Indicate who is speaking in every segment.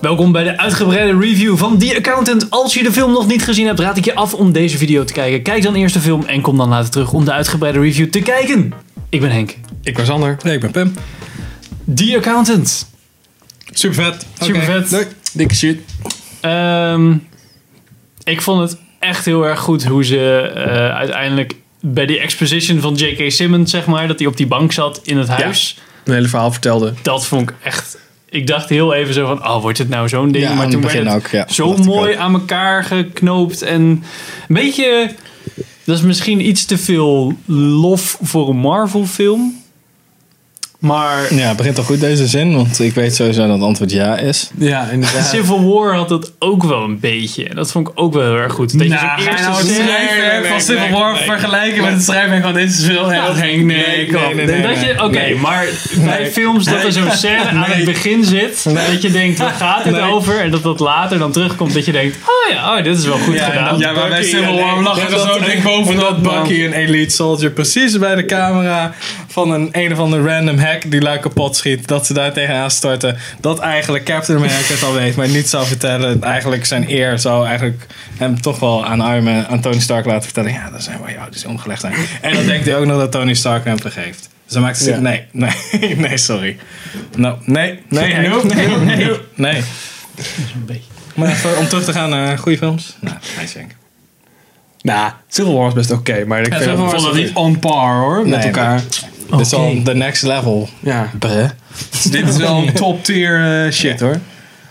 Speaker 1: Welkom bij de uitgebreide review van The Accountant. Als je de film nog niet gezien hebt, raad ik je af om deze video te kijken. Kijk dan eerst de film en kom dan later terug om de uitgebreide review te kijken. Ik ben Henk,
Speaker 2: Ik ben Sander. Nee, ik ben Pim.
Speaker 1: The Accountant.
Speaker 2: Super vet.
Speaker 1: Supervet.
Speaker 2: Dikke shit.
Speaker 1: Ehm, ik vond het echt heel erg goed hoe ze eh, uiteindelijk bij die exposition van J.K. Simmons, zeg maar, dat hij op die bank zat in het huis.
Speaker 2: Een hele verhaal vertelde.
Speaker 1: Dat vond ik echt. Ik dacht heel even zo van, oh, wordt het nou zo'n ding?
Speaker 3: Ja, aan
Speaker 1: maar
Speaker 3: het
Speaker 1: toen
Speaker 3: begin
Speaker 1: werd het
Speaker 3: ook, ja.
Speaker 1: zo
Speaker 3: Dacht ik
Speaker 1: mooi
Speaker 3: ook.
Speaker 1: aan elkaar geknoopt. En een beetje, dat is misschien iets te veel lof voor een Marvel film. Maar
Speaker 3: Ja, het begint al goed deze zin, want ik weet sowieso dat het antwoord ja is.
Speaker 2: Ja, inderdaad.
Speaker 1: Civil War had dat ook wel een beetje. En dat vond ik ook wel heel erg goed. Dat je zo'n
Speaker 2: Nou, ga je
Speaker 1: eerste
Speaker 2: nou het
Speaker 1: scène-
Speaker 2: schrijfwerk van Civil War vergelijken met het schrijfwerk van deze film? Ja,
Speaker 1: Nee, nee, kom.
Speaker 2: nee, nee,
Speaker 1: Dat
Speaker 2: nee.
Speaker 1: je- Oké, maar bij films dat er zo'n scène aan het begin zit, dat je denkt, waar gaat dit over? En dat dat later dan terugkomt, dat je denkt, oh ja, oh, dit is wel goed gedaan.
Speaker 2: Ja, maar bij
Speaker 3: Bucky
Speaker 2: Civil
Speaker 3: en-
Speaker 2: War lachen
Speaker 3: en
Speaker 2: we
Speaker 3: dat-
Speaker 2: zo dik
Speaker 3: Dat
Speaker 2: bovenop.
Speaker 3: Bucky een elite soldier precies bij de camera van een een of andere random hack die lui kapot schiet. Dat ze daar tegenaan storten. Dat eigenlijk Captain America het al weet, maar niet zou vertellen. En Eigenlijk zijn eer zou eigenlijk hem toch wel aan Iron Man, aan Tony Stark laten vertellen. Ja, dat zijn wel jou, die omgelegd zijn. En dan denkt hij ook nog dat Tony Stark hem vergeeft. Dus dan maakt hij zich,
Speaker 2: Ja.
Speaker 3: nee, nee, nee, sorry. Nou, nee, nee, Henk,
Speaker 2: Nope,
Speaker 3: nee,
Speaker 2: nope,
Speaker 3: nee,
Speaker 2: nope.
Speaker 3: nee. Maar even om terug te gaan naar goede films. Nou, nice Henk.
Speaker 2: Nou, Civil War is best oké, maar ik
Speaker 3: Civil War
Speaker 2: vond
Speaker 3: is
Speaker 2: dat
Speaker 3: oké.
Speaker 2: niet on par hoor, met
Speaker 3: Nee,
Speaker 2: elkaar.
Speaker 3: Dit is al the next level.
Speaker 2: Ja,
Speaker 3: Bruh.
Speaker 2: dit is wel een top tier eh, shit hoor.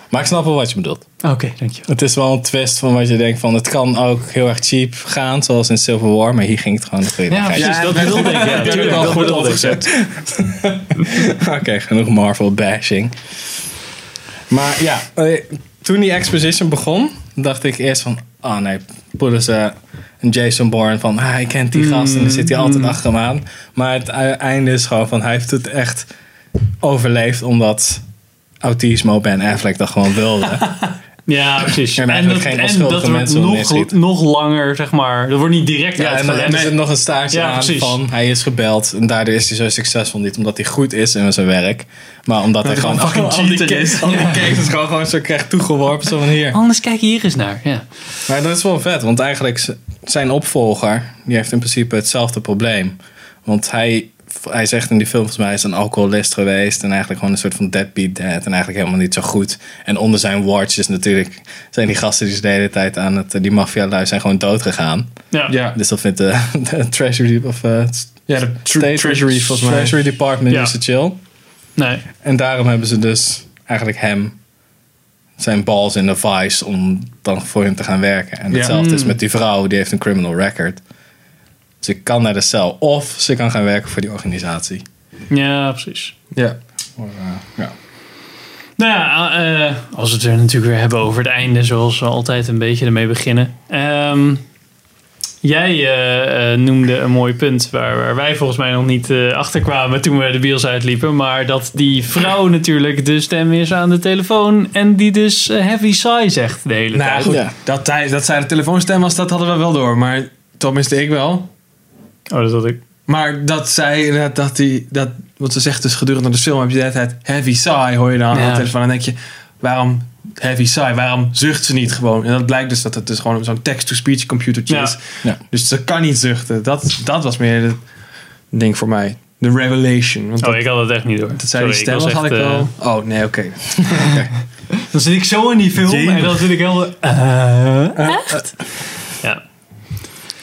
Speaker 3: Maar ik snap wel wat je bedoelt.
Speaker 1: Oké, dankjewel.
Speaker 3: Het is wel een twist van wat je denkt van het kan ook heel erg cheap gaan, zoals in Civil War, maar hier ging het gewoon de goede
Speaker 1: Ja,
Speaker 3: kant uit.
Speaker 1: precies, dat wilde ik. Ja,
Speaker 2: dat
Speaker 1: tuurlijk,
Speaker 2: wel
Speaker 1: dat
Speaker 2: goed
Speaker 1: wilde ik.
Speaker 2: opgezet.
Speaker 3: Oké, genoeg Marvel bashing. Maar ja, eh, toen die exposition begon, dacht ik eerst van, oh nee, poelen ze een Jason Bourne van, ah, ik ken die gast en dan zit hij altijd achter hem aan. Maar het e- einde is gewoon van, hij heeft het echt overleefd omdat autisme op Ben Affleck dat gewoon wilde.
Speaker 1: Ja, precies.
Speaker 3: Ja,
Speaker 1: En,
Speaker 3: maar
Speaker 1: dat,
Speaker 3: eigenlijk geen
Speaker 1: en
Speaker 3: onschuldige
Speaker 1: dat wordt
Speaker 3: mensen om neer te
Speaker 1: nog,
Speaker 3: schieten.
Speaker 1: nog langer, zeg maar, dat wordt niet direct
Speaker 3: Ja, en dan
Speaker 1: uitgelegd.
Speaker 3: hebben ze nog een staartje
Speaker 1: Ja,
Speaker 3: aan
Speaker 1: precies.
Speaker 3: van hij is gebeld en daardoor is hij zo succesvol. Niet omdat hij goed is in zijn werk, maar omdat hij gewoon
Speaker 2: hij gewoon
Speaker 3: al
Speaker 2: fucking
Speaker 3: die
Speaker 2: cheater
Speaker 3: cases-
Speaker 2: is.
Speaker 3: al die cases gewoon, gewoon zo krijgt toegeworpen. Zo van hier.
Speaker 1: Anders kijk hier eens naar. Ja.
Speaker 3: Maar dat is wel vet, want eigenlijk z- zijn opvolger, die heeft in principe hetzelfde probleem. Want hij, hij zegt in die film, volgens mij hij is een alcoholist geweest. En eigenlijk gewoon een soort van deadbeat dad. En eigenlijk helemaal niet zo goed. En onder zijn watch is natuurlijk, zijn die gasten die ze de hele tijd aan het, die maffia zijn gewoon dood gegaan.
Speaker 1: Ja.
Speaker 2: Ja,
Speaker 3: Dus dat vindt de, de treasury of eh, het
Speaker 2: ja de tre-
Speaker 3: State-
Speaker 2: treasury volgens mij.
Speaker 3: Treasury Department
Speaker 1: Ja.
Speaker 3: is het chill.
Speaker 1: Nee.
Speaker 3: En daarom hebben ze dus eigenlijk hem zijn balls in de vice om dan voor hem te gaan werken. En
Speaker 2: Ja.
Speaker 3: hetzelfde is met die vrouw, die heeft een criminal record. Ze kan naar de cel of ze kan gaan werken voor die organisatie.
Speaker 1: Ja, precies.
Speaker 2: Ja.
Speaker 3: Ja.
Speaker 1: Nou ja, eh, als we het er natuurlijk weer hebben over het einde, zoals we altijd een beetje ermee beginnen. Ehm, jij eh, eh, noemde een mooi punt waar, waar wij volgens mij nog niet eh achterkwamen toen we de bios uitliepen. Maar dat die vrouw natuurlijk de stem is aan de telefoon en die dus eh, heavy sigh zegt de hele
Speaker 2: Nou
Speaker 1: tijd.
Speaker 2: goed,
Speaker 3: Ja.
Speaker 2: dat, hij, dat zij de telefoonstem was, dat hadden we wel door. Maar tenminste ik wel.
Speaker 1: Oh, dat had ik.
Speaker 2: Maar dat zij inderdaad, dat die, dat, wat ze zegt dus gedurende de film, heb je de hele tijd heavy sigh, hoor je dan aan
Speaker 1: Ja.
Speaker 2: de telefoon. En dan denk je, waarom heavy sigh? Waarom zucht ze niet gewoon? En dat blijkt dus dat het dus gewoon zo'n text-to-speech computertje
Speaker 1: Ja.
Speaker 2: is.
Speaker 3: Ja.
Speaker 2: Dus ze kan niet zuchten. Dat, dat was meer het ding voor mij. De revelation. Want dat,
Speaker 1: Oh, ik had het echt niet door.
Speaker 2: dat zij die
Speaker 1: Sorry,
Speaker 2: stem was,
Speaker 1: was
Speaker 2: had ik
Speaker 1: echt,
Speaker 2: wel.
Speaker 1: eh,
Speaker 2: oh, nee, oké.
Speaker 1: Dan zit ik zo in die film en
Speaker 2: Jemig.
Speaker 1: dan zit ik helemaal...
Speaker 2: Eh,
Speaker 1: Ja.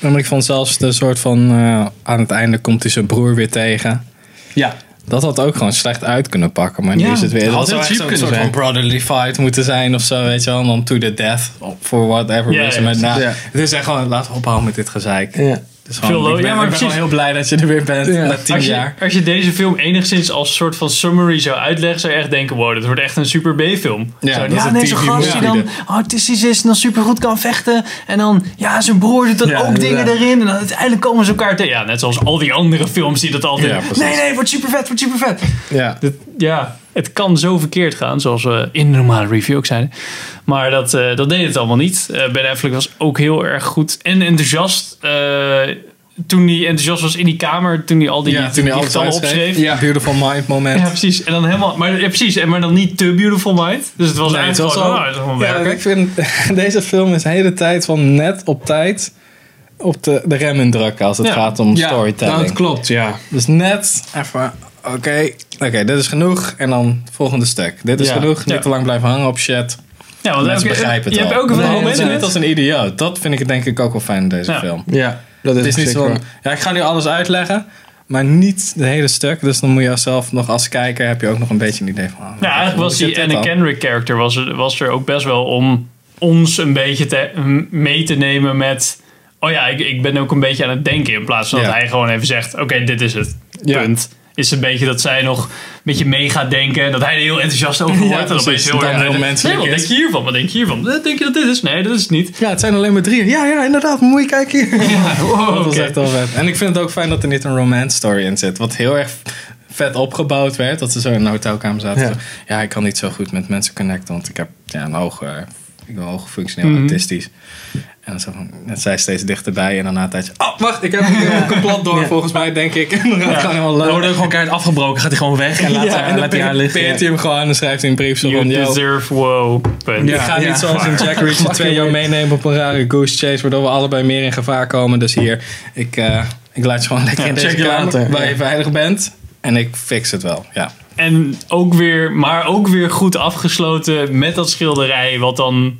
Speaker 3: En ik vond zelfs de soort van, eh, aan het einde komt hij zijn broer weer tegen.
Speaker 2: Ja,
Speaker 3: Dat had ook gewoon slecht uit kunnen pakken, maar nu
Speaker 1: Ja,
Speaker 3: is het weer...
Speaker 2: had
Speaker 3: dat
Speaker 2: heel
Speaker 3: zou echt
Speaker 2: cheap
Speaker 3: zo'n
Speaker 2: kunnen
Speaker 3: soort
Speaker 2: zijn.
Speaker 3: van brotherly fight moeten zijn of zo, weet je wel. En dan to the death, for whatever
Speaker 1: Ja,
Speaker 3: reason.
Speaker 1: ja,
Speaker 3: Maar nou,
Speaker 2: ja.
Speaker 3: Het is echt gewoon, laten we ophouden met dit gezeik.
Speaker 2: ja.
Speaker 3: Dus
Speaker 1: Veel lo-
Speaker 3: gewoon, ik ben,
Speaker 1: ja, maar
Speaker 3: ik ben
Speaker 1: precies.
Speaker 3: gewoon heel blij dat je er weer bent
Speaker 2: Ja.
Speaker 3: na tien
Speaker 1: als je,
Speaker 3: jaar.
Speaker 1: Als je deze film enigszins als soort van summary zou uitleggen, zou je echt denken: wow, dit wordt echt een super B-film.
Speaker 3: Ja,
Speaker 1: Zo,
Speaker 3: dat is een
Speaker 1: nee, zo'n
Speaker 3: TV
Speaker 1: gast die dan
Speaker 3: movie
Speaker 1: autistisch is en dan super goed kan vechten. En dan, ja, zijn broer doet dan
Speaker 2: Ja,
Speaker 1: ook dingen
Speaker 2: inderdaad.
Speaker 1: erin. En dan uiteindelijk komen ze elkaar tegen. Ja, net zoals al die andere films die dat altijd.
Speaker 3: Ja, precies.
Speaker 1: nee, nee, wordt super vet, wordt super vet.
Speaker 3: Ja.
Speaker 1: Dit- ja, het kan zo verkeerd gaan, zoals we in de normale review ook zeiden. Maar dat, eh, dat deed het allemaal niet. Eh ben Affleck was ook heel erg goed en enthousiast. Eh, toen hij enthousiast was in die kamer, toen hij al die,
Speaker 3: Ja,
Speaker 1: toen hij
Speaker 3: alles
Speaker 1: getallen
Speaker 3: uitschreef.
Speaker 1: opschreef.
Speaker 2: Ja.
Speaker 3: Beautiful mind moment.
Speaker 1: Ja, precies. En dan helemaal, maar, ja, precies. En maar dan niet te beautiful mind. Dus het was
Speaker 3: Nee, het
Speaker 1: eigenlijk
Speaker 3: was
Speaker 1: gewoon,
Speaker 3: al-
Speaker 1: oh, dat is gewoon
Speaker 3: Ja,
Speaker 1: werken.
Speaker 3: ik vind deze film is de hele tijd van net op tijd op de, de rem indrukken als het
Speaker 1: Ja.
Speaker 3: gaat om
Speaker 2: Ja,
Speaker 3: storytelling.
Speaker 2: dat klopt, ja.
Speaker 3: dus net even, oké, oké, dit is genoeg en dan volgende stuk. Dit is
Speaker 2: Ja.
Speaker 3: genoeg, niet
Speaker 1: Ja.
Speaker 3: te lang blijven hangen op shit.
Speaker 1: Ja, want
Speaker 3: Mensen
Speaker 1: elke-
Speaker 3: begrijpen het
Speaker 1: Je hebt
Speaker 3: al.
Speaker 1: ook een
Speaker 3: Nee,
Speaker 1: moment
Speaker 3: mensen
Speaker 1: momenten
Speaker 3: zijn net als een idioot. Dat vind ik het denk ik ook wel fijn in deze
Speaker 1: Ja.
Speaker 3: film.
Speaker 2: Ja, dat
Speaker 3: Het is niet
Speaker 2: zo.
Speaker 3: zo ja, ik ga nu alles uitleggen, maar niet het hele stuk. Dus dan moet je zelf nog als kijker, heb je ook nog een beetje een idee van... ah,
Speaker 1: Ja, eigenlijk
Speaker 3: hoe
Speaker 1: was
Speaker 3: zit
Speaker 1: die
Speaker 3: dit
Speaker 1: Anna
Speaker 3: dan?
Speaker 1: Kendrick character was er, was er ook best wel om ons een beetje te, m- mee te nemen met... Oh ja, ik, ik ben ook een beetje aan het denken. In plaats van
Speaker 3: Ja.
Speaker 1: dat hij gewoon even zegt, oké, dit is het.
Speaker 2: Ja.
Speaker 1: Punt. Is een beetje dat zij nog een beetje mee gaat denken. Dat hij er heel enthousiast over wordt. en
Speaker 3: precies.
Speaker 1: opeens heel
Speaker 3: Dat
Speaker 1: erg...
Speaker 3: dan heel
Speaker 1: nee,
Speaker 3: menselijk
Speaker 1: wat
Speaker 3: is.
Speaker 1: denk je hiervan? Wat denk je hiervan? Eh, Denk je dat dit is? Nee, dat is het niet.
Speaker 3: Ja, het zijn alleen maar drie. Ja, ja, inderdaad. Moet je kijken hier.
Speaker 1: Wow,
Speaker 3: Dat was
Speaker 1: oké.
Speaker 3: echt wel vet. En ik vind het ook fijn dat er niet een romance story in zit. Wat heel erg vet opgebouwd werd. Dat ze zo in een hotelkamer zaten.
Speaker 2: Ja.
Speaker 3: Ja, ik kan niet zo goed met mensen connecten. Want ik heb ja, een hoog, eh, ik ben hoog functioneel
Speaker 2: Mhm.
Speaker 3: autistisch. En dan zo van, en zij steeds dichterbij. En daarna een tijdje... Oh, wacht. Ik heb een complot door volgens mij, denk ik. En dan gaat het gewoon helemaal
Speaker 2: Dan
Speaker 3: leuk.
Speaker 2: wordt ook gewoon keihard afgebroken. Gaat hij gewoon weg en laat, haar,
Speaker 3: en
Speaker 2: laat hij haar
Speaker 3: dan
Speaker 2: liggen.
Speaker 3: peert hij hem gewoon en dan schrijft hij een brief zo
Speaker 1: You
Speaker 3: van... yo,
Speaker 1: deserve wow. Punt.
Speaker 3: ik
Speaker 2: Ja.
Speaker 3: ga niet zoals in Jack
Speaker 2: Fucking
Speaker 3: Reacher 2 jou
Speaker 2: weird.
Speaker 3: meenemen op een rare goose chase, waardoor we allebei meer in gevaar komen. Dus hier, ik, eh, ik laat je gewoon lekker
Speaker 2: Ja,
Speaker 3: in deze
Speaker 2: check je
Speaker 3: kamer,
Speaker 2: later.
Speaker 3: waar
Speaker 2: Ja.
Speaker 3: je veilig bent. En ik fix het wel, ja.
Speaker 1: En ook weer, maar ook weer goed afgesloten met dat schilderij, wat dan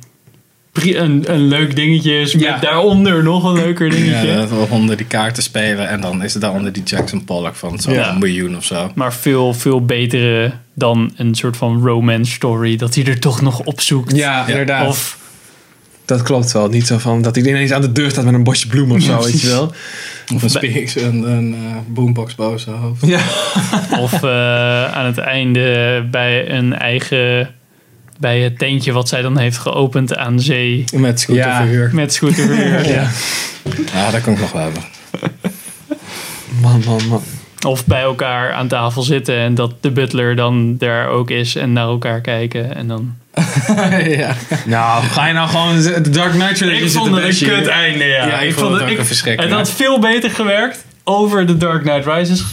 Speaker 1: pri- een, een leuk dingetje is.
Speaker 2: Ja.
Speaker 1: Met daaronder nog een leuker
Speaker 3: ja
Speaker 1: dingetje.
Speaker 3: dat we onder die kaarten spelen en dan is het daaronder die Jackson Pollock van zo'n
Speaker 1: Ja.
Speaker 3: miljoen of zo.
Speaker 1: Maar veel, veel betere dan een soort van romance story, dat hij er toch nog opzoekt.
Speaker 2: Ja, inderdaad.
Speaker 1: Of
Speaker 2: Dat klopt wel. Niet zo van dat hij ineens aan de deur staat met een bosje bloemen of zo, weet je wel.
Speaker 3: Of een speaks, een, een eh, boombox boven zijn hoofd.
Speaker 2: Ja.
Speaker 1: Of eh, aan het einde bij een eigen. bij het tentje wat zij dan heeft geopend aan zee.
Speaker 3: Met scooterverhuur.
Speaker 1: met scooterverhuur.
Speaker 2: Ja.
Speaker 3: Ja, dat kan ik nog wel hebben.
Speaker 2: Man, man, man.
Speaker 1: Of bij elkaar aan tafel zitten en dat de butler dan daar ook is en naar elkaar kijken. En dan...
Speaker 3: ja.
Speaker 2: Nou, ga je nou gewoon z- de Dark Knight Trilogy
Speaker 1: Ik
Speaker 2: zitten
Speaker 1: vond het een
Speaker 2: bashen?
Speaker 1: kut einde, ja.
Speaker 3: Ja, ik vond het ook een verschrikking,
Speaker 1: Het had veel beter gewerkt over The Dark Knight Rises,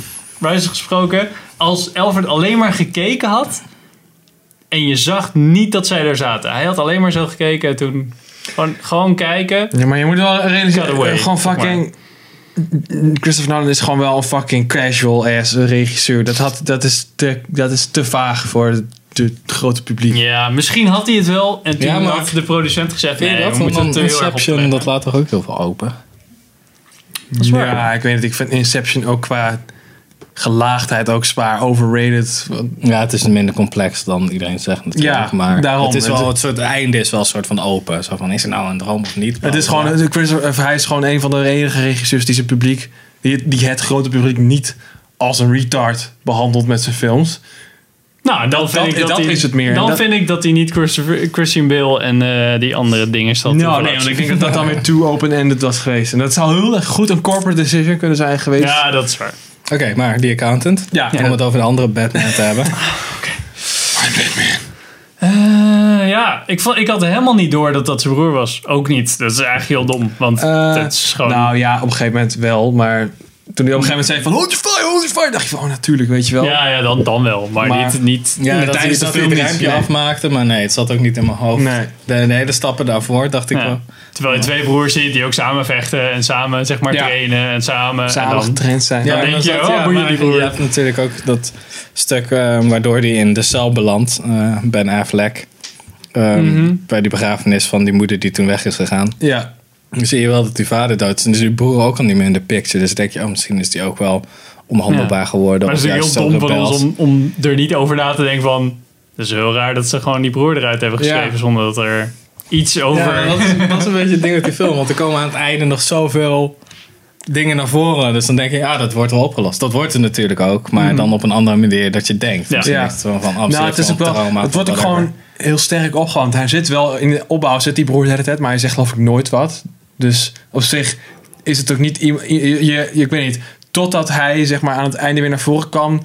Speaker 1: Rises gesproken als Alfred alleen maar gekeken had en je zag niet dat zij daar zaten. Hij had alleen maar zo gekeken en toen gewoon, gewoon kijken.
Speaker 2: Ja, maar je moet wel realiseren.
Speaker 1: Cut away,
Speaker 2: eh, Gewoon
Speaker 1: zeg maar.
Speaker 2: fucking. Christopher Nolan is gewoon wel een fucking casual ass regisseur. Dat, had, dat, is, te, dat is te vaag voor het het grote publiek.
Speaker 1: Ja, misschien had hij het wel en toen
Speaker 3: Ja, maar-
Speaker 1: had de producent gezegd,
Speaker 3: Vind je
Speaker 1: nee,
Speaker 3: dat?
Speaker 1: we
Speaker 3: Want
Speaker 1: moeten het
Speaker 3: dan
Speaker 1: er heel erg op
Speaker 3: Inception,
Speaker 1: letten."
Speaker 3: dat laat toch ook heel veel open?
Speaker 1: is waar.
Speaker 2: Ja, ik weet het. Ik vind Inception ook qua gelaagdheid ook zwaar overrated.
Speaker 3: Ja, het is minder complex dan iedereen zegt natuurlijk.
Speaker 2: Ja,
Speaker 3: maar
Speaker 2: daarom.
Speaker 3: het is
Speaker 2: Het-
Speaker 3: wel het soort einde is wel een soort van open. Zo van is het nou een droom of niet?
Speaker 2: Het is gewoon, eh, Christopher- of hij is gewoon een van de enige regisseurs die zijn publiek, die, die het grote publiek niet als een retard behandelt met zijn films.
Speaker 1: Nou, dan vind
Speaker 2: dat-
Speaker 1: ik dat,
Speaker 2: dat
Speaker 1: hij-
Speaker 2: is het meer.
Speaker 1: Dan
Speaker 2: Dat-
Speaker 1: vind ik dat hij niet Christopher- Christian Bale en eh, die andere dingen zat. te
Speaker 2: Nou, nee, want
Speaker 1: verlaten.
Speaker 2: ik denk dat dat dan weer too open-ended was geweest. En dat zou heel erg goed een corporate decision kunnen zijn geweest.
Speaker 1: Ja, dat is waar.
Speaker 3: Oké, maar die accountant.
Speaker 2: Ja.
Speaker 3: Om het over de andere Batman te hebben.
Speaker 1: Eh, ja, ik, vond, ik had helemaal niet door dat dat zijn broer was. Ook niet. Dat is eigenlijk heel dom. Want
Speaker 2: Eh,
Speaker 1: dat is gewoon...
Speaker 2: Nou ja, op een gegeven moment wel, maar toen hij op een gegeven moment zei van hold your fire, hold your fire, dacht je van oh natuurlijk, weet je wel.
Speaker 1: ja, ja dan, dan wel. Maar,
Speaker 2: Maar-
Speaker 1: niet... niet
Speaker 3: Ja,
Speaker 2: Ja,
Speaker 3: dat tijdens
Speaker 2: tijdens de
Speaker 3: dat
Speaker 2: film
Speaker 3: film het
Speaker 2: niet,
Speaker 3: rijmpje
Speaker 2: nee.
Speaker 3: afmaakte, maar nee, het zat ook niet in mijn hoofd.
Speaker 2: Nee.
Speaker 3: De, de hele stappen daarvoor dacht ik
Speaker 1: ja.
Speaker 3: wel.
Speaker 1: Terwijl je twee broers ziet die ook samen vechten en samen zeg maar
Speaker 2: Ja.
Speaker 1: trainen en samen... en
Speaker 2: Samen
Speaker 1: dan-
Speaker 2: getraind zijn.
Speaker 1: Ja.
Speaker 3: en
Speaker 1: denk je,
Speaker 3: zat-
Speaker 1: oh, boeien
Speaker 3: maar
Speaker 1: die broer.
Speaker 3: Je hebt natuurlijk ook dat stuk eh, waardoor hij in de cel belandt, eh, Ben Affleck. Ehm,
Speaker 1: Mhm.
Speaker 3: Bij die begrafenis van die moeder die toen weg is gegaan.
Speaker 2: Ja.
Speaker 3: Dan zie je wel dat die vader dood is. En dus die broer ook al niet meer in de picture. Dus dan denk je, oh, misschien is die ook wel onhandelbaar
Speaker 1: Ja.
Speaker 3: geworden.
Speaker 1: Maar
Speaker 3: of
Speaker 1: het is
Speaker 3: juist
Speaker 1: natuurlijk heel
Speaker 3: zo'n
Speaker 1: dom van
Speaker 3: rebels.
Speaker 1: ons om, om er niet over na te denken van... Het is heel raar dat ze gewoon die broer eruit hebben geschreven
Speaker 2: Ja.
Speaker 1: zonder dat er iets over...
Speaker 3: Ja, dat, is, dat is een beetje het ding met die film. Want er komen aan het einde nog zoveel dingen naar voren. Dus dan denk je, ja, dat wordt wel opgelost. Dat wordt het natuurlijk ook. Maar dan op een andere manier dat je denkt.
Speaker 1: Ja.
Speaker 3: Misschien
Speaker 2: Ja.
Speaker 3: is het gewoon van, oh,
Speaker 2: Nou, het, is ook wel,
Speaker 3: trauma,
Speaker 2: het wordt ook
Speaker 3: whatever.
Speaker 2: gewoon heel sterk opgewarmd. Hij zit wel in de opbouw, zit die broer de hele tijd, maar hij zegt geloof ik nooit wat. Dus op zich is het ook niet iemand. Je, je- je- ik weet niet. Totdat hij zeg maar aan het einde weer naar voren kwam,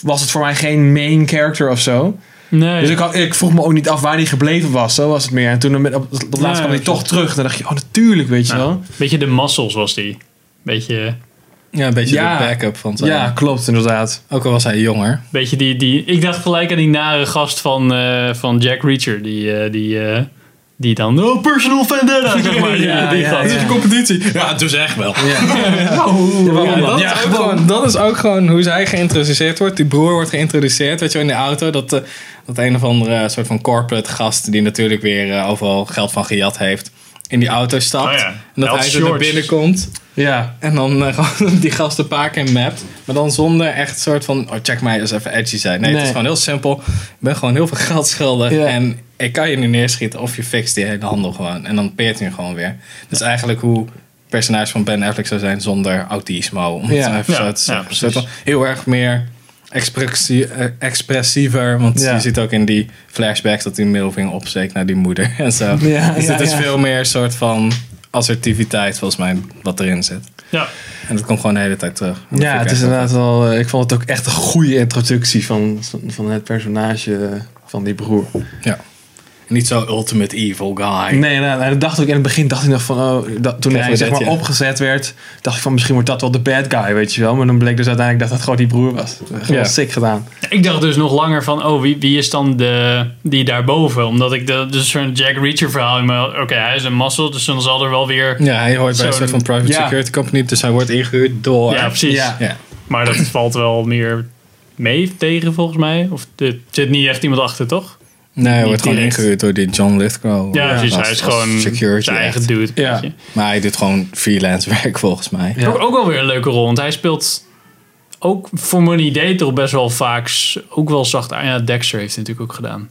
Speaker 2: was het voor mij geen main character of zo.
Speaker 1: Nee.
Speaker 2: Dus ik, had- ik vroeg me ook niet af waar hij gebleven was. Zo was het meer. En toen op het laatst
Speaker 1: Nee,
Speaker 2: kwam hij
Speaker 1: dat
Speaker 2: toch terug. Dan dacht je, oh natuurlijk, weet je
Speaker 1: Ja.
Speaker 2: wel.
Speaker 1: Beetje de muscles was die. Beetje,
Speaker 3: Ja, een beetje
Speaker 2: Ja.
Speaker 3: de backup van zijn.
Speaker 2: Ja, klopt, inderdaad.
Speaker 3: Ook al was hij jonger.
Speaker 1: beetje die, die... Ik dacht gelijk aan die nare gast van, eh, van Jack Reacher. Die, eh, die, eh, die dan... Oh, personal vendetta, zeg maar. Die-
Speaker 2: Ja,
Speaker 1: die
Speaker 2: ja,
Speaker 1: gast.
Speaker 2: ja.
Speaker 3: een competitie. Ja, dus echt wel. Ja, dat,
Speaker 2: Ja,
Speaker 3: is ook
Speaker 2: gewoon.
Speaker 3: gewoon, dat is ook gewoon hoe zij geïntroduceerd wordt. Die broer wordt geïntroduceerd, weet je wel, in de auto. Dat, eh, dat een of andere soort van corporate gast... die natuurlijk weer eh, overal geld van gejat heeft... in die auto stapt.
Speaker 1: Oh ja.
Speaker 3: En dat
Speaker 1: Elf
Speaker 3: hij zo naar
Speaker 1: shorts.
Speaker 3: binnen komt.
Speaker 2: Ja.
Speaker 3: En dan eh, gewoon die gast een paar keer mapt. Maar dan zonder echt soort van... Oh, check mij eens even edgy zijn. Nee, het
Speaker 2: Nee.
Speaker 3: is gewoon heel simpel. Ik ben gewoon heel veel geld schuldig.
Speaker 2: Ja.
Speaker 3: En ik kan je nu neerschieten of je fixt die hele handel gewoon. En dan peert hij hem gewoon weer. Dat is eigenlijk hoe het personage van Ben Affleck zou zijn zonder autismo. Om het
Speaker 2: Ja.
Speaker 3: zo even
Speaker 1: Ja,
Speaker 3: zo te
Speaker 1: ja,
Speaker 3: zeggen.
Speaker 1: precies.
Speaker 3: Soort van heel erg meer expressie- eh, expressiever. Want
Speaker 2: Ja.
Speaker 3: je ziet ook in die flashbacks dat hij middelvinger opsteekt naar die moeder. En zo.
Speaker 2: Ja,
Speaker 3: dus
Speaker 2: ja,
Speaker 3: het is
Speaker 2: ja.
Speaker 3: veel meer een soort van assertiviteit volgens mij wat erin zit.
Speaker 1: Ja.
Speaker 3: En dat komt gewoon de hele tijd terug. Dat
Speaker 2: Ja,
Speaker 3: vind ik
Speaker 2: het
Speaker 3: echt
Speaker 2: is inderdaad wel. eh, Ik vond het ook echt een goede introductie van, van het personage eh, van die broer.
Speaker 3: wel- Niet zo ultimate evil guy.
Speaker 2: Nee, nou, nou, dat dacht ik in het begin. Dacht ik nog van, oh, dat, toen
Speaker 3: Krijg
Speaker 2: hij
Speaker 3: je
Speaker 2: zeg
Speaker 3: dat,
Speaker 2: maar
Speaker 3: ja.
Speaker 2: opgezet werd, dacht ik van misschien wordt dat wel de bad guy, weet je wel. Maar dan bleek dus uiteindelijk dat dat gewoon die broer was. Gewoon
Speaker 3: Ja.
Speaker 2: sick gedaan.
Speaker 1: Ik dacht dus nog langer van, oh, wie, wie is dan de, die daarboven? Omdat ik de, dus zo'n Jack Reacher verhaal in me- Oké, hij is een mazzel, dus dan zal er wel weer...
Speaker 3: Ja, hij hoort bij
Speaker 1: Zo'n-
Speaker 3: een soort van private
Speaker 2: ja.
Speaker 3: security company, dus hij wordt ingehuurd door.
Speaker 1: Ja, precies.
Speaker 2: Ja.
Speaker 3: Ja.
Speaker 1: Maar dat valt wel meer mee tegen, volgens mij. Of er zit niet echt iemand achter, toch?
Speaker 3: Nee, hij wordt gewoon
Speaker 1: direct.
Speaker 3: ingehuurd door die John Lithgow.
Speaker 1: Ja, precies.
Speaker 3: Als-
Speaker 1: hij is
Speaker 3: als
Speaker 1: gewoon
Speaker 3: security
Speaker 1: zijn eigen
Speaker 3: echt.
Speaker 1: dude.
Speaker 2: Ja.
Speaker 1: weet je.
Speaker 3: Maar hij doet gewoon freelance werk volgens mij.
Speaker 2: Ja.
Speaker 1: Ook, ook wel weer een leuke rol, want hij speelt ook voor mijn idee toch best wel vaak... s- Ook wel zacht aan. Ja, Dexter heeft het natuurlijk ook gedaan.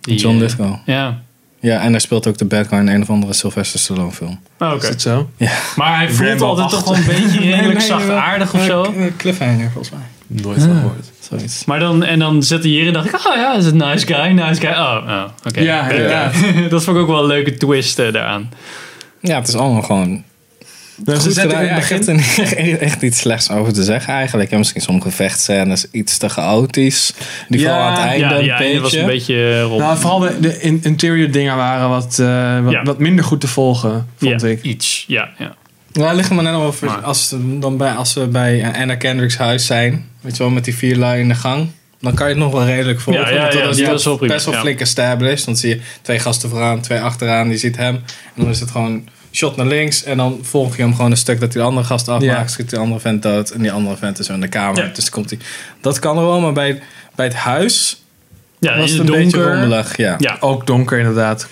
Speaker 1: Die,
Speaker 3: John
Speaker 1: eh,
Speaker 3: Lithgow.
Speaker 1: Ja,
Speaker 3: Ja, en hij speelt ook de bad guy in een of andere Sylvester Stallone film.
Speaker 1: Ah, oké.
Speaker 2: Is dat zo?
Speaker 1: Maar hij voelt
Speaker 2: Rambo
Speaker 1: altijd toch wel een beetje redelijk zachtaardig of zo.
Speaker 3: Cliffhanger volgens mij.
Speaker 2: Nooit van gehoord.
Speaker 3: Zoiets.
Speaker 1: Maar dan, en dan zat hij hier en dacht ik, oh ja, is het nice guy, nice guy. Oh, oh oké.
Speaker 2: Ja, inderdaad.
Speaker 1: dat vond ik ook wel een leuke twist eh, daaraan.
Speaker 3: Ja, het is allemaal gewoon
Speaker 2: Dus ze
Speaker 3: Goed
Speaker 2: zetten
Speaker 3: gedaan.
Speaker 2: in
Speaker 3: Ja,
Speaker 2: het
Speaker 3: ik
Speaker 2: begin.
Speaker 3: heb er niet- echt iets slechts over te zeggen eigenlijk. Ja, misschien sommige vechtscènes iets te chaotisch. Die
Speaker 2: Ja,
Speaker 3: vooral aan het einde
Speaker 1: ja,
Speaker 3: een
Speaker 1: die einde
Speaker 3: beetje.
Speaker 1: was een beetje eh, rond.
Speaker 2: Nou, vooral de, de in- interior dingen waren wat, eh, wat,
Speaker 1: Ja.
Speaker 2: wat minder goed te volgen, vond
Speaker 1: ja,
Speaker 2: ik.
Speaker 1: Iets, ja. ja.
Speaker 3: Nou, ligt er maar net al over
Speaker 1: Maar-
Speaker 3: als, dan bij, als we bij eh, Anna Kendrick's huis zijn. Weet je wel, met die vier lui in de gang. Dan kan je het nog wel redelijk volgen.
Speaker 1: Ja, ja,
Speaker 3: want
Speaker 1: ja,
Speaker 3: dat is
Speaker 1: ja, dat is wel prima,
Speaker 3: best wel
Speaker 1: ja.
Speaker 3: flink established. Dan zie je twee gasten vooraan, twee achteraan. Die ziet hem. En dan is het gewoon shot naar links. En dan volg je hem gewoon een stuk dat die andere gast afmaakt.
Speaker 2: Ja.
Speaker 3: Schiet die andere vent dood. En die andere vent is zo in de kamer.
Speaker 1: Ja.
Speaker 3: Dus dan komt hij. Dat kan er wel, maar bij, bij het huis
Speaker 1: Ja,
Speaker 3: was
Speaker 1: in
Speaker 3: het
Speaker 1: het
Speaker 3: een beetje
Speaker 1: donker.
Speaker 3: rommelig. Ja.
Speaker 1: Ja,
Speaker 2: Ook donker, inderdaad.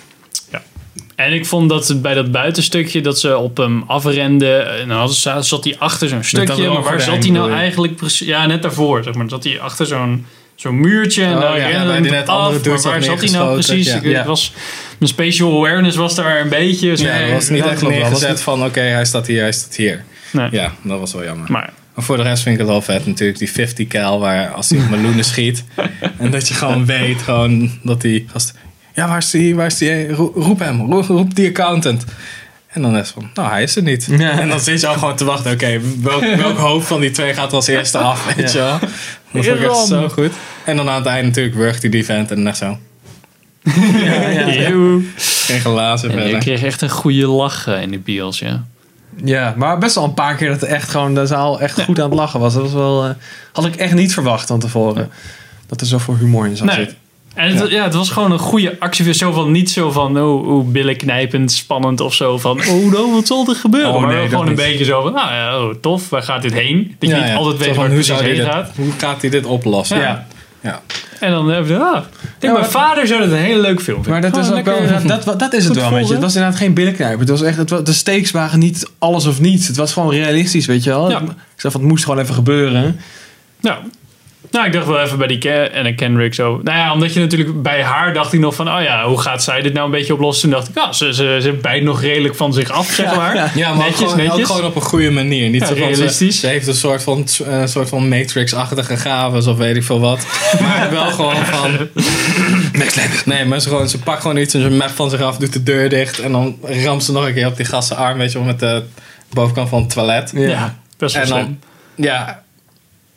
Speaker 1: en ik vond dat het bij dat buitenstukje dat ze op hem afrenden, eh, en dan hadden ze- zat hij achter zo'n stukje, maar waar
Speaker 2: raamgordijn,
Speaker 1: zat hij nou
Speaker 2: bedoel je?
Speaker 1: eigenlijk precies? Ja, net daarvoor, zeg maar. Zat hij achter zo'n zo'n muurtje en
Speaker 3: Oh,
Speaker 1: dan
Speaker 3: ja,
Speaker 1: rende
Speaker 3: ja, waar
Speaker 1: hem
Speaker 3: die net
Speaker 1: af,
Speaker 3: andere
Speaker 1: maar
Speaker 3: dudes
Speaker 1: waar
Speaker 3: had
Speaker 1: zat hij nou
Speaker 3: neergeschoten,
Speaker 1: precies?
Speaker 3: ja.
Speaker 1: Ik weet-
Speaker 2: Ja.
Speaker 1: ik was, mijn spatial awareness was daar een beetje...
Speaker 3: Ja,
Speaker 1: nee,
Speaker 3: er was niet
Speaker 2: dat
Speaker 3: echt
Speaker 2: klopt wel.
Speaker 3: neergezet
Speaker 2: Dat was
Speaker 3: van oké, hij staat hier, hij staat hier.
Speaker 1: nee.
Speaker 3: Ja, dat was wel jammer.
Speaker 1: Maar
Speaker 3: Maar voor de rest vind ik het wel vet natuurlijk, die 50 cal waar als hij op meloenen schiet. En dat je gewoon weet gewoon dat die gast... Ja, waar is die? Waar is die? eh, Ro- Roep hem, ro- roep die accountant. En dan is het van, nou hij is er niet.
Speaker 2: Ja.
Speaker 3: En dan zit je al gewoon te wachten, oké, welk, welk hoofd van die twee gaat er als eerste af, weet je wel. Dat vond ik echt zo goed. En dan aan het eind natuurlijk wurgt hij die vent en dan echt zo.
Speaker 1: Eeuw.
Speaker 3: Geen glazen
Speaker 1: Ja, ik
Speaker 3: verder.
Speaker 1: kreeg echt een goede lach eh, in de bios, ja.
Speaker 2: Ja, maar best wel een paar keer dat er echt gewoon de zaal echt goed aan het lachen was. Dat was wel, eh, had ik echt niet verwacht van tevoren. Dat er zoveel humor in zat.
Speaker 1: Nee. En het, ja. het was gewoon een goede actie. Zo van, niet zo van, oh, oh billen knijpend, spannend of zo. Van, oh, nou, wat zal er gebeuren?
Speaker 2: Oh,
Speaker 1: maar
Speaker 2: nee,
Speaker 1: wel
Speaker 2: dat
Speaker 1: gewoon
Speaker 2: niet.
Speaker 1: een beetje zo van, nou ja, oh, tof, waar gaat dit heen? Dat je
Speaker 3: Ja,
Speaker 1: niet
Speaker 3: ja.
Speaker 1: altijd
Speaker 3: Zo
Speaker 1: weet
Speaker 3: van,
Speaker 1: waar het
Speaker 3: hoe
Speaker 1: precies
Speaker 3: zou die
Speaker 1: heen
Speaker 3: dit-
Speaker 1: gaat.
Speaker 3: Hoe gaat hij dit oplossen?
Speaker 2: Ja.
Speaker 3: Ja.
Speaker 1: En dan hebben we, ah, ik denk, mijn
Speaker 2: maar-
Speaker 1: vader zou dat een hele leuke film
Speaker 2: Maar
Speaker 1: vinden.
Speaker 2: dat, is
Speaker 1: Gewoon
Speaker 2: ook wel,
Speaker 1: lekker- eh,
Speaker 2: dat, wa- dat is het
Speaker 1: goed
Speaker 2: wel, weet je.
Speaker 1: volgen.
Speaker 2: Het was inderdaad geen billenknijper. Het was echt, het wa- de stakes waren niet alles of niets. Het was gewoon realistisch, weet je wel.
Speaker 1: Ja.
Speaker 2: Ik zei van, het moest gewoon even gebeuren.
Speaker 1: Nou, nou, ik dacht wel even bij die Ke- en een Kendrick zo. Nou ja, omdat je natuurlijk bij haar dacht ik nog van, oh ja, hoe gaat zij dit nou een beetje oplossen? Toen dacht ik, ja, ze, ze, ze bijt nog redelijk van zich af, zeg maar.
Speaker 3: Ja, maar
Speaker 1: netjes,
Speaker 3: ook gewoon,
Speaker 1: netjes.
Speaker 3: ook gewoon op een goede manier. Niet
Speaker 1: Ja,
Speaker 3: zo van,
Speaker 1: realistisch.
Speaker 3: Ze, ze heeft een soort van, eh, soort van Matrix-achtige gaven of weet ik veel wat. maar wel gewoon van... Nee, maar ze, gewoon, ze pakt gewoon iets en ze map van zich af, doet de deur dicht. En dan ramt ze nog een keer op die gasten arm, weet je wel, met de bovenkant van het toilet.
Speaker 1: Ja,
Speaker 2: Ja.
Speaker 1: best wel
Speaker 3: En dan-
Speaker 1: slim.
Speaker 3: Ja.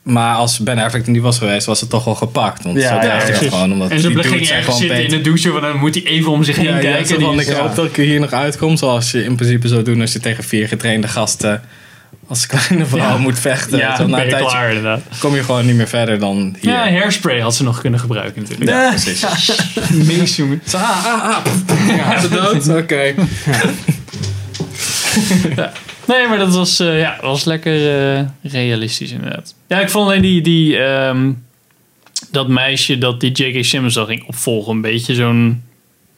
Speaker 3: Maar als Ben Affleck er niet was geweest, was het toch wel gepakt. Want
Speaker 2: Ja,
Speaker 3: ze
Speaker 2: ja,
Speaker 3: dachten dat
Speaker 1: precies.
Speaker 3: gewoon, omdat
Speaker 1: en ze
Speaker 3: die
Speaker 1: ging
Speaker 3: dudes zijn
Speaker 1: ergens
Speaker 3: gewoon
Speaker 1: zitten in
Speaker 3: beter.
Speaker 1: de douche, want dan moet hij even om zich heen
Speaker 3: Ja, ja,
Speaker 1: kijken.
Speaker 3: zo
Speaker 1: Die
Speaker 3: van,
Speaker 1: is-
Speaker 3: ik
Speaker 2: ja.
Speaker 3: hoop dat ik hier nog uitkom. Zoals je in principe zou doen als je tegen vier getrainde gasten als kleine vrouw
Speaker 1: Ja.
Speaker 3: moet vechten.
Speaker 1: ja,
Speaker 3: weet je wel.
Speaker 1: dan
Speaker 3: Na
Speaker 1: ben
Speaker 3: een
Speaker 1: je
Speaker 3: tijdje
Speaker 1: klaar inderdaad.
Speaker 3: kom je gewoon niet meer verder dan hier.
Speaker 1: Ja, hairspray had ze nog kunnen gebruiken natuurlijk.
Speaker 3: Ja, precies.
Speaker 1: Meezoomen.
Speaker 3: Zo, ah, ah, ah. pff. Ja, ze dood? Oké.
Speaker 1: Nee, maar dat was, eh, ja, was lekker eh, realistisch inderdaad. Ja, ik vond alleen die, die, ehm, dat meisje dat die J.K. Simmons dan ging opvolgen een beetje zo'n...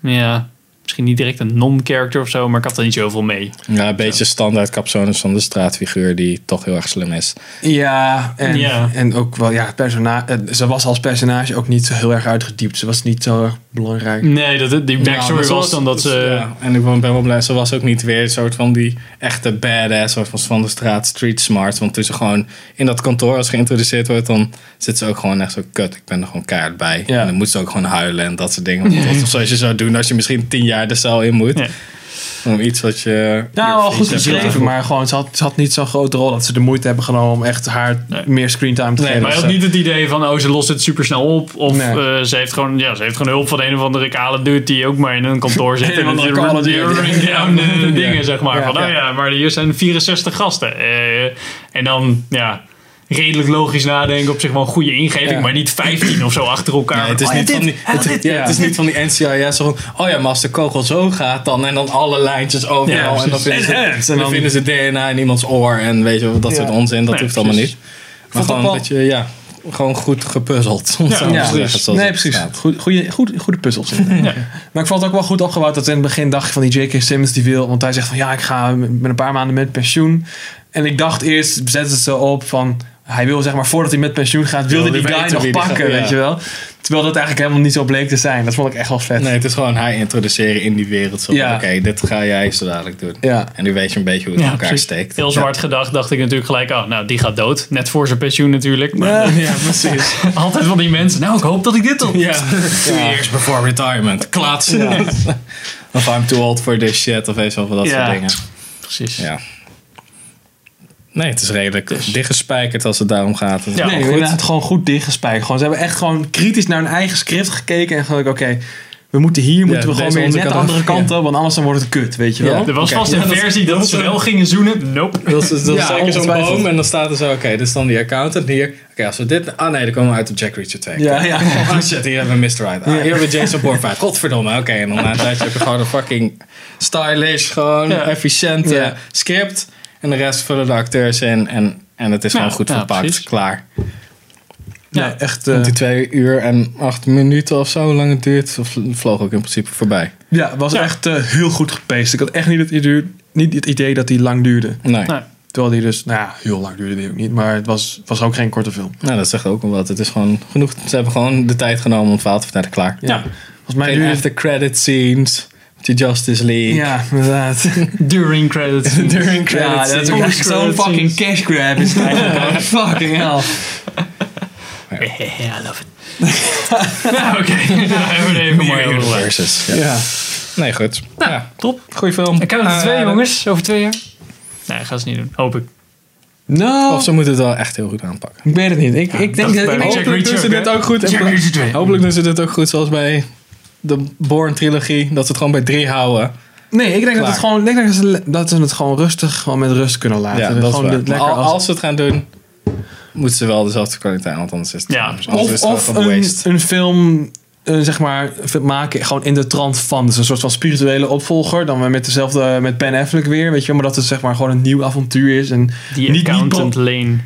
Speaker 1: Ja, misschien niet direct een non-character of zo, maar ik had er niet zoveel mee.
Speaker 3: Ja, een beetje standaard capsones van de straatfiguur die toch heel erg slim is.
Speaker 2: Ja, en,
Speaker 1: Ja.
Speaker 2: en ook wel, ja, het persona- eh, ze was als personage ook niet zo heel erg uitgediept. Ze was niet zo erg belangrijk.
Speaker 1: Nee, dat, die backstory
Speaker 3: Ja, maar
Speaker 1: was
Speaker 3: ze
Speaker 1: dan dat ze...
Speaker 3: ja, en ik ben wel blij, ze was ook niet weer een soort van die echte badass, soort van van de straat street smart. Want toen ze gewoon in dat kantoor als geïntroduceerd wordt, dan zit ze ook gewoon echt zo kut. Ik ben er gewoon kaart bij.
Speaker 2: Ja.
Speaker 3: En dan moet ze ook gewoon huilen en dat soort dingen. Want dat is zoals je zou doen als je misschien tien jaar de cel in moet.
Speaker 1: Ja.
Speaker 3: Om iets wat je...
Speaker 2: Nou, wel goed geschreven,
Speaker 3: geschreven
Speaker 2: maar gewoon, ze had, ze had niet zo'n grote rol dat ze de moeite hebben genomen om echt haar
Speaker 1: Nee.
Speaker 2: meer screentime te
Speaker 3: Nee,
Speaker 2: geven.
Speaker 1: Maar hij had niet het idee van, oh, ze lost het super snel op. Of
Speaker 2: Nee.
Speaker 1: eh, ze, heeft gewoon, ja, ze heeft gewoon hulp van een of andere kale dude die ook maar in een kantoor zit.
Speaker 2: Een of
Speaker 1: en
Speaker 2: andere
Speaker 1: die
Speaker 2: kale
Speaker 1: die
Speaker 2: dude.
Speaker 1: running down de
Speaker 2: Ja.
Speaker 1: eh, dingen, zeg maar.
Speaker 2: Ja,
Speaker 1: van, oh
Speaker 2: ja.
Speaker 1: ja, maar hier zijn 64 gasten. Eh, en dan, ja, redelijk logisch nadenken op zich wel een goede ingeving.
Speaker 2: Ja.
Speaker 1: Maar niet 15 of zo achter elkaar.
Speaker 3: Nee, het is
Speaker 1: Oh ja,
Speaker 3: niet
Speaker 1: dit-
Speaker 3: van die-
Speaker 1: hij had
Speaker 3: het-
Speaker 1: dit.
Speaker 3: ja, het is niet van die NCIS. van, Oh ja, maar als de kogel zo gaat dan. En dan alle lijntjes
Speaker 1: Ja,
Speaker 3: overal. en dan
Speaker 1: precies.
Speaker 3: vinden ze,
Speaker 2: En hands, en
Speaker 3: dan
Speaker 2: dan-
Speaker 3: vinden ze DNA in iemands oor. En weet je wel, dat
Speaker 2: Ja.
Speaker 3: soort onzin. Dat
Speaker 1: Nee,
Speaker 3: hoeft allemaal
Speaker 1: precies.
Speaker 3: niet. Maar
Speaker 2: vond
Speaker 3: gewoon
Speaker 2: ook
Speaker 3: een beetje, ja, gewoon goed gepuzzeld. om het zo
Speaker 1: Ja,
Speaker 3: maar te
Speaker 2: Ja,
Speaker 3: zeggen,
Speaker 2: precies.
Speaker 3: zoals
Speaker 2: Nee,
Speaker 3: het
Speaker 2: precies.
Speaker 3: staat.
Speaker 2: Goed, goede, goed, goede puzzels.
Speaker 1: Ja.
Speaker 2: Maar ik vond het ook wel goed opgebouwd dat in het begin dacht ik van die J.K. Simmons die wil, want hij zegt van ja, ik ga met met een paar maanden met pensioen. En ik dacht eerst, zetten ze zo op van hij wil zeg maar voordat hij met pensioen gaat,
Speaker 3: Wilde
Speaker 2: wilde die guy
Speaker 3: weten
Speaker 2: nog
Speaker 3: wie die
Speaker 2: pakken,
Speaker 3: gaat- ja.
Speaker 2: weet je wel. Terwijl dat eigenlijk helemaal niet zo bleek te zijn. Dat vond ik echt wel vet.
Speaker 3: Nee, het is gewoon haar introduceren in die wereld. Zo van,
Speaker 2: Ja.
Speaker 3: oké, dit ga jij zo dadelijk doen.
Speaker 2: Ja.
Speaker 3: En nu weet je een beetje hoe het in elkaar
Speaker 1: precies.
Speaker 3: steekt.
Speaker 1: Heel
Speaker 3: Ja.
Speaker 1: zwart gedacht dacht ik natuurlijk gelijk, oh, nou, die gaat dood. Net voor zijn pensioen natuurlijk. Maar
Speaker 2: Ja, ja, precies.
Speaker 1: altijd van die mensen, nou, ik hoop dat ik dit tot...
Speaker 3: Ja. Two years before retirement. Klaats. Of I'm too old for this shit. Of weet je wel, van dat
Speaker 1: Ja.
Speaker 3: soort dingen.
Speaker 1: Precies.
Speaker 3: Ja. Nee, het is redelijk dichtgespijkerd als het daarom gaat.
Speaker 1: Ja,
Speaker 2: nee,
Speaker 1: goed.
Speaker 2: inderdaad, gewoon goed dichtgespijkerd. Gewoon, ze hebben echt gewoon kritisch naar hun eigen script gekeken en gewoon oké, we moeten hier moeten we
Speaker 3: deze
Speaker 2: gewoon weer
Speaker 3: onze
Speaker 2: net de
Speaker 3: kant af.
Speaker 2: andere kant
Speaker 3: Ja.
Speaker 2: op, want anders dan wordt het kut, weet je
Speaker 3: Ja.
Speaker 2: wel.
Speaker 1: Er was
Speaker 3: Oké.
Speaker 1: vast een
Speaker 3: Ja, dat-
Speaker 1: versie dat,
Speaker 3: dat
Speaker 1: ze
Speaker 3: was-
Speaker 1: wel gingen zoenen. Nope.
Speaker 3: Dat is, dat
Speaker 2: Ja,
Speaker 3: is zeker zo'n
Speaker 2: ongetwijfeld.
Speaker 3: boom en dan staat er zo, oké, dit is dan die accountant hier. Oké, als we dit... Ah nee, dan komen we uit op Jack Reacher 2.
Speaker 2: Ja, ja.
Speaker 3: Oh shit, hier hebben we Mr. Right. Ah,
Speaker 2: Ja.
Speaker 3: hier hebben we Jason Bourne 5. Godverdomme, oké. en dan na een tijdje heb je gewoon een fucking stylish, gewoon
Speaker 1: Ja.
Speaker 3: efficiënte
Speaker 2: Ja.
Speaker 3: script. En de rest vullen de acteurs in en, en het is
Speaker 1: Ja,
Speaker 3: gewoon goed
Speaker 1: ja,
Speaker 3: verpakt.
Speaker 1: precies.
Speaker 3: Klaar.
Speaker 2: Nee,
Speaker 1: Ja.
Speaker 2: echt. eh,
Speaker 3: Want die twee uur en acht minuten of zo, hoe lang het duurt, vl- vloog ook in principe voorbij.
Speaker 2: Ja, was
Speaker 1: Ja.
Speaker 2: echt eh, heel goed gepaced. Ik had echt niet het, idee, niet het idee dat die lang duurde.
Speaker 3: Nee.
Speaker 1: Nou,
Speaker 2: Terwijl die dus, nou ja, heel lang duurde die ook niet. Maar het was, was ook geen korte film.
Speaker 3: Nou, dat zegt ook wel wat. Het is gewoon genoeg. Ze hebben gewoon de tijd genomen om het verhaal te vertellen. Klaar.
Speaker 1: Ja.
Speaker 2: Volgens mij
Speaker 3: Geen
Speaker 2: duurde het...
Speaker 3: after credit scenes. De Justice League.
Speaker 2: Ja, inderdaad.
Speaker 1: During credits.
Speaker 3: During credit
Speaker 2: ja, Ah, dat
Speaker 3: scenes.
Speaker 2: is ook echt zo'n
Speaker 1: Credits.
Speaker 2: fucking cash grab. Is het eigenlijk. fucking hell.
Speaker 1: I love it. nou, oké. Nou, hebben we er even mooi over gelaten.
Speaker 3: Universes. Ja.
Speaker 2: Ja.
Speaker 3: Nee, goed. ja.
Speaker 1: Nou, Top.
Speaker 3: Goeie film.
Speaker 1: Ik heb er twee,
Speaker 3: Aanrader.
Speaker 1: jongens. Over twee jaar. Nee, gaan ze niet doen. Hoop ik.
Speaker 2: Nou,
Speaker 3: Of ze moeten het wel echt heel goed aanpakken.
Speaker 2: ik weet het niet. Ik, ik denk
Speaker 1: dat
Speaker 2: dat...
Speaker 1: bij Jack
Speaker 2: ik hoop-
Speaker 3: Hopelijk doen
Speaker 1: Reacher
Speaker 3: ze
Speaker 1: ook,
Speaker 3: dit
Speaker 1: hè?
Speaker 3: ook goed. in
Speaker 1: Jack
Speaker 3: pla-
Speaker 1: Reacher 2.
Speaker 3: Hopelijk doen ze dit ook goed zoals bij de Born trilogie. Dat ze het gewoon bij drie houden.
Speaker 2: nee, ik denk dat, het
Speaker 3: Klaar.
Speaker 2: gewoon, ik denk dat, ze, dat ze het gewoon rustig gewoon met rust kunnen laten.
Speaker 3: Ja, dat is
Speaker 2: gewoon
Speaker 3: waar.
Speaker 2: dit
Speaker 3: Maar
Speaker 2: lekker
Speaker 3: al-
Speaker 2: als,
Speaker 3: als ze het gaan doen, moeten ze wel dezelfde kwaliteit. Want anders is het,
Speaker 1: Ja.
Speaker 3: anders is
Speaker 2: of
Speaker 3: het
Speaker 2: of
Speaker 3: gewoon
Speaker 2: een,
Speaker 3: waste.
Speaker 2: een film, eh, zeg maar, film maken gewoon in de trant van. Dus een soort van spirituele opvolger. Dan weer met dezelfde, met Ben Affleck weer, weet je wel. Maar dat het zeg maar gewoon een nieuw avontuur is. En,
Speaker 1: Die
Speaker 2: Niet- niet
Speaker 1: accountant lane.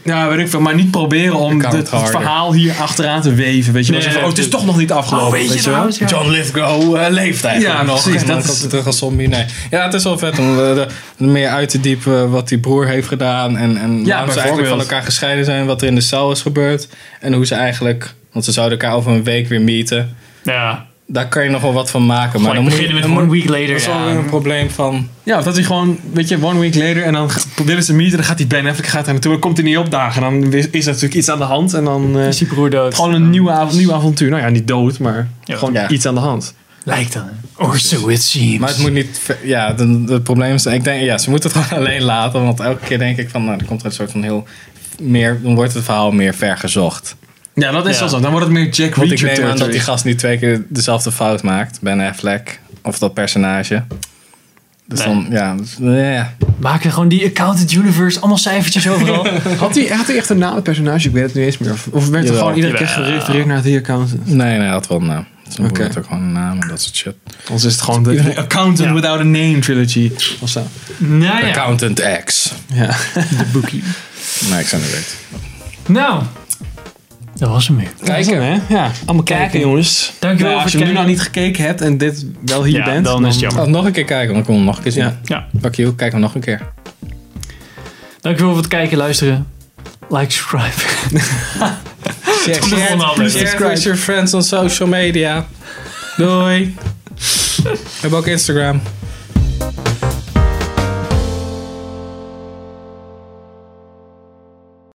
Speaker 3: Oh,
Speaker 2: ja, weet ik veel. Maar niet proberen om
Speaker 3: Account
Speaker 2: de- het
Speaker 3: harder.
Speaker 2: verhaal hier achteraan te weven, weet je wel.
Speaker 1: Nee,
Speaker 2: Zo van, oh, het is
Speaker 1: natuurlijk.
Speaker 2: toch nog niet afgelopen,
Speaker 1: Oh, weet
Speaker 2: weet,
Speaker 1: je
Speaker 2: je
Speaker 3: nou?
Speaker 2: wel.
Speaker 1: trouwens, ja.
Speaker 3: John Lithgow eh, leeft eigenlijk
Speaker 2: Ja,
Speaker 3: nog.
Speaker 2: precies,
Speaker 3: En dan
Speaker 2: dat
Speaker 3: komt
Speaker 2: is-
Speaker 3: hij terug als zombie. Nee. Ja, het is wel vet om eh, de- meer uit te diepen eh, wat die broer heeft gedaan. En, en waarom ze eigenlijk
Speaker 2: bijvoorbeeld.
Speaker 3: van elkaar gescheiden zijn. Wat er in de cel is gebeurd. En hoe ze eigenlijk... Want ze zouden elkaar over een week weer meeten.
Speaker 1: Ja.
Speaker 3: Daar kan je nog wel wat van maken. Maar
Speaker 1: Maar
Speaker 3: dan
Speaker 1: ik
Speaker 3: moet je-
Speaker 1: beginnen met
Speaker 3: dan moet-
Speaker 1: one week
Speaker 3: Dat
Speaker 1: later.
Speaker 3: is wel weer
Speaker 1: Ja.
Speaker 3: een probleem van...
Speaker 2: Ja, of dat hij gewoon, weet je, one week later en dan gaat- willen ze meeten. Dan gaat die Ben Affleck gaat daar naartoe, dan komt hij niet opdagen. En dan is er natuurlijk iets aan de hand en dan... eh,
Speaker 1: Is die broer dood?
Speaker 2: gewoon een nieuw, av- nieuw avontuur. Nou ja, niet dood, maar
Speaker 1: Ja.
Speaker 2: gewoon
Speaker 3: Ja.
Speaker 2: iets aan de hand.
Speaker 1: Lijkt dan. Or so it seems.
Speaker 3: Oh, Maar het moet niet. ver- Ja, de- de- het probleem is. Ik denk, ja, ze moeten het gewoon alleen laten. Want elke keer denk ik van. Nou, dan komt er een soort van heel. Meer, dan wordt het verhaal meer vergezocht.
Speaker 2: Ja, dat is
Speaker 1: Ja.
Speaker 2: wel zo. Dan wordt het meer Jack
Speaker 3: Want
Speaker 2: Reacher
Speaker 3: ik neem aan dat
Speaker 2: territory.
Speaker 3: die gast niet twee keer dezelfde fout maakt. Ben Affleck. Of dat personage. Dus
Speaker 1: Nee.
Speaker 3: dan, ja. Dus, eh, ja.
Speaker 1: Maken gewoon die Accounted Universe, allemaal cijfertjes overal.
Speaker 2: Had hij had hij echt een naam, het personage? Ik weet het niet eens meer. Of, of werd het
Speaker 3: Jawel.
Speaker 2: gewoon iedere keer
Speaker 1: Jawel.
Speaker 2: gerefereerd naar de accountant?
Speaker 3: Nee, nee, had wel een naam. Dus Zo'n
Speaker 2: Oké.
Speaker 3: boer had ook gewoon een naam en dat soort shit.
Speaker 2: Anders is het gewoon de Accountant
Speaker 1: Ja.
Speaker 2: Without a Name trilogy. Of zo.
Speaker 1: nou ja,
Speaker 3: Accountant X.
Speaker 2: Ja.
Speaker 1: de boekie.
Speaker 3: Nee, ik zou niet weten.
Speaker 1: Nou, dat was hem weer.
Speaker 2: Kijken, hè? Ja. Allemaal kijken, jongens.
Speaker 1: Dankjewel
Speaker 2: Nou, als je
Speaker 1: voor
Speaker 2: hem nu
Speaker 1: kijken.
Speaker 2: nog niet gekeken hebt en dit wel hier
Speaker 1: Ja,
Speaker 2: bent,
Speaker 1: dan is het jammer.
Speaker 3: Laat Oh, nog een keer kijken, dan kunnen we hem nog een keer zien.
Speaker 2: Ja.
Speaker 1: Ja.
Speaker 3: Fuck you, kijken we nog een keer.
Speaker 1: Dankjewel voor het kijken, luisteren. Like, subscribe.
Speaker 3: Share,
Speaker 1: volgende aflevering.
Speaker 3: share with your friends on social media. Doei. We hebben ook Instagram.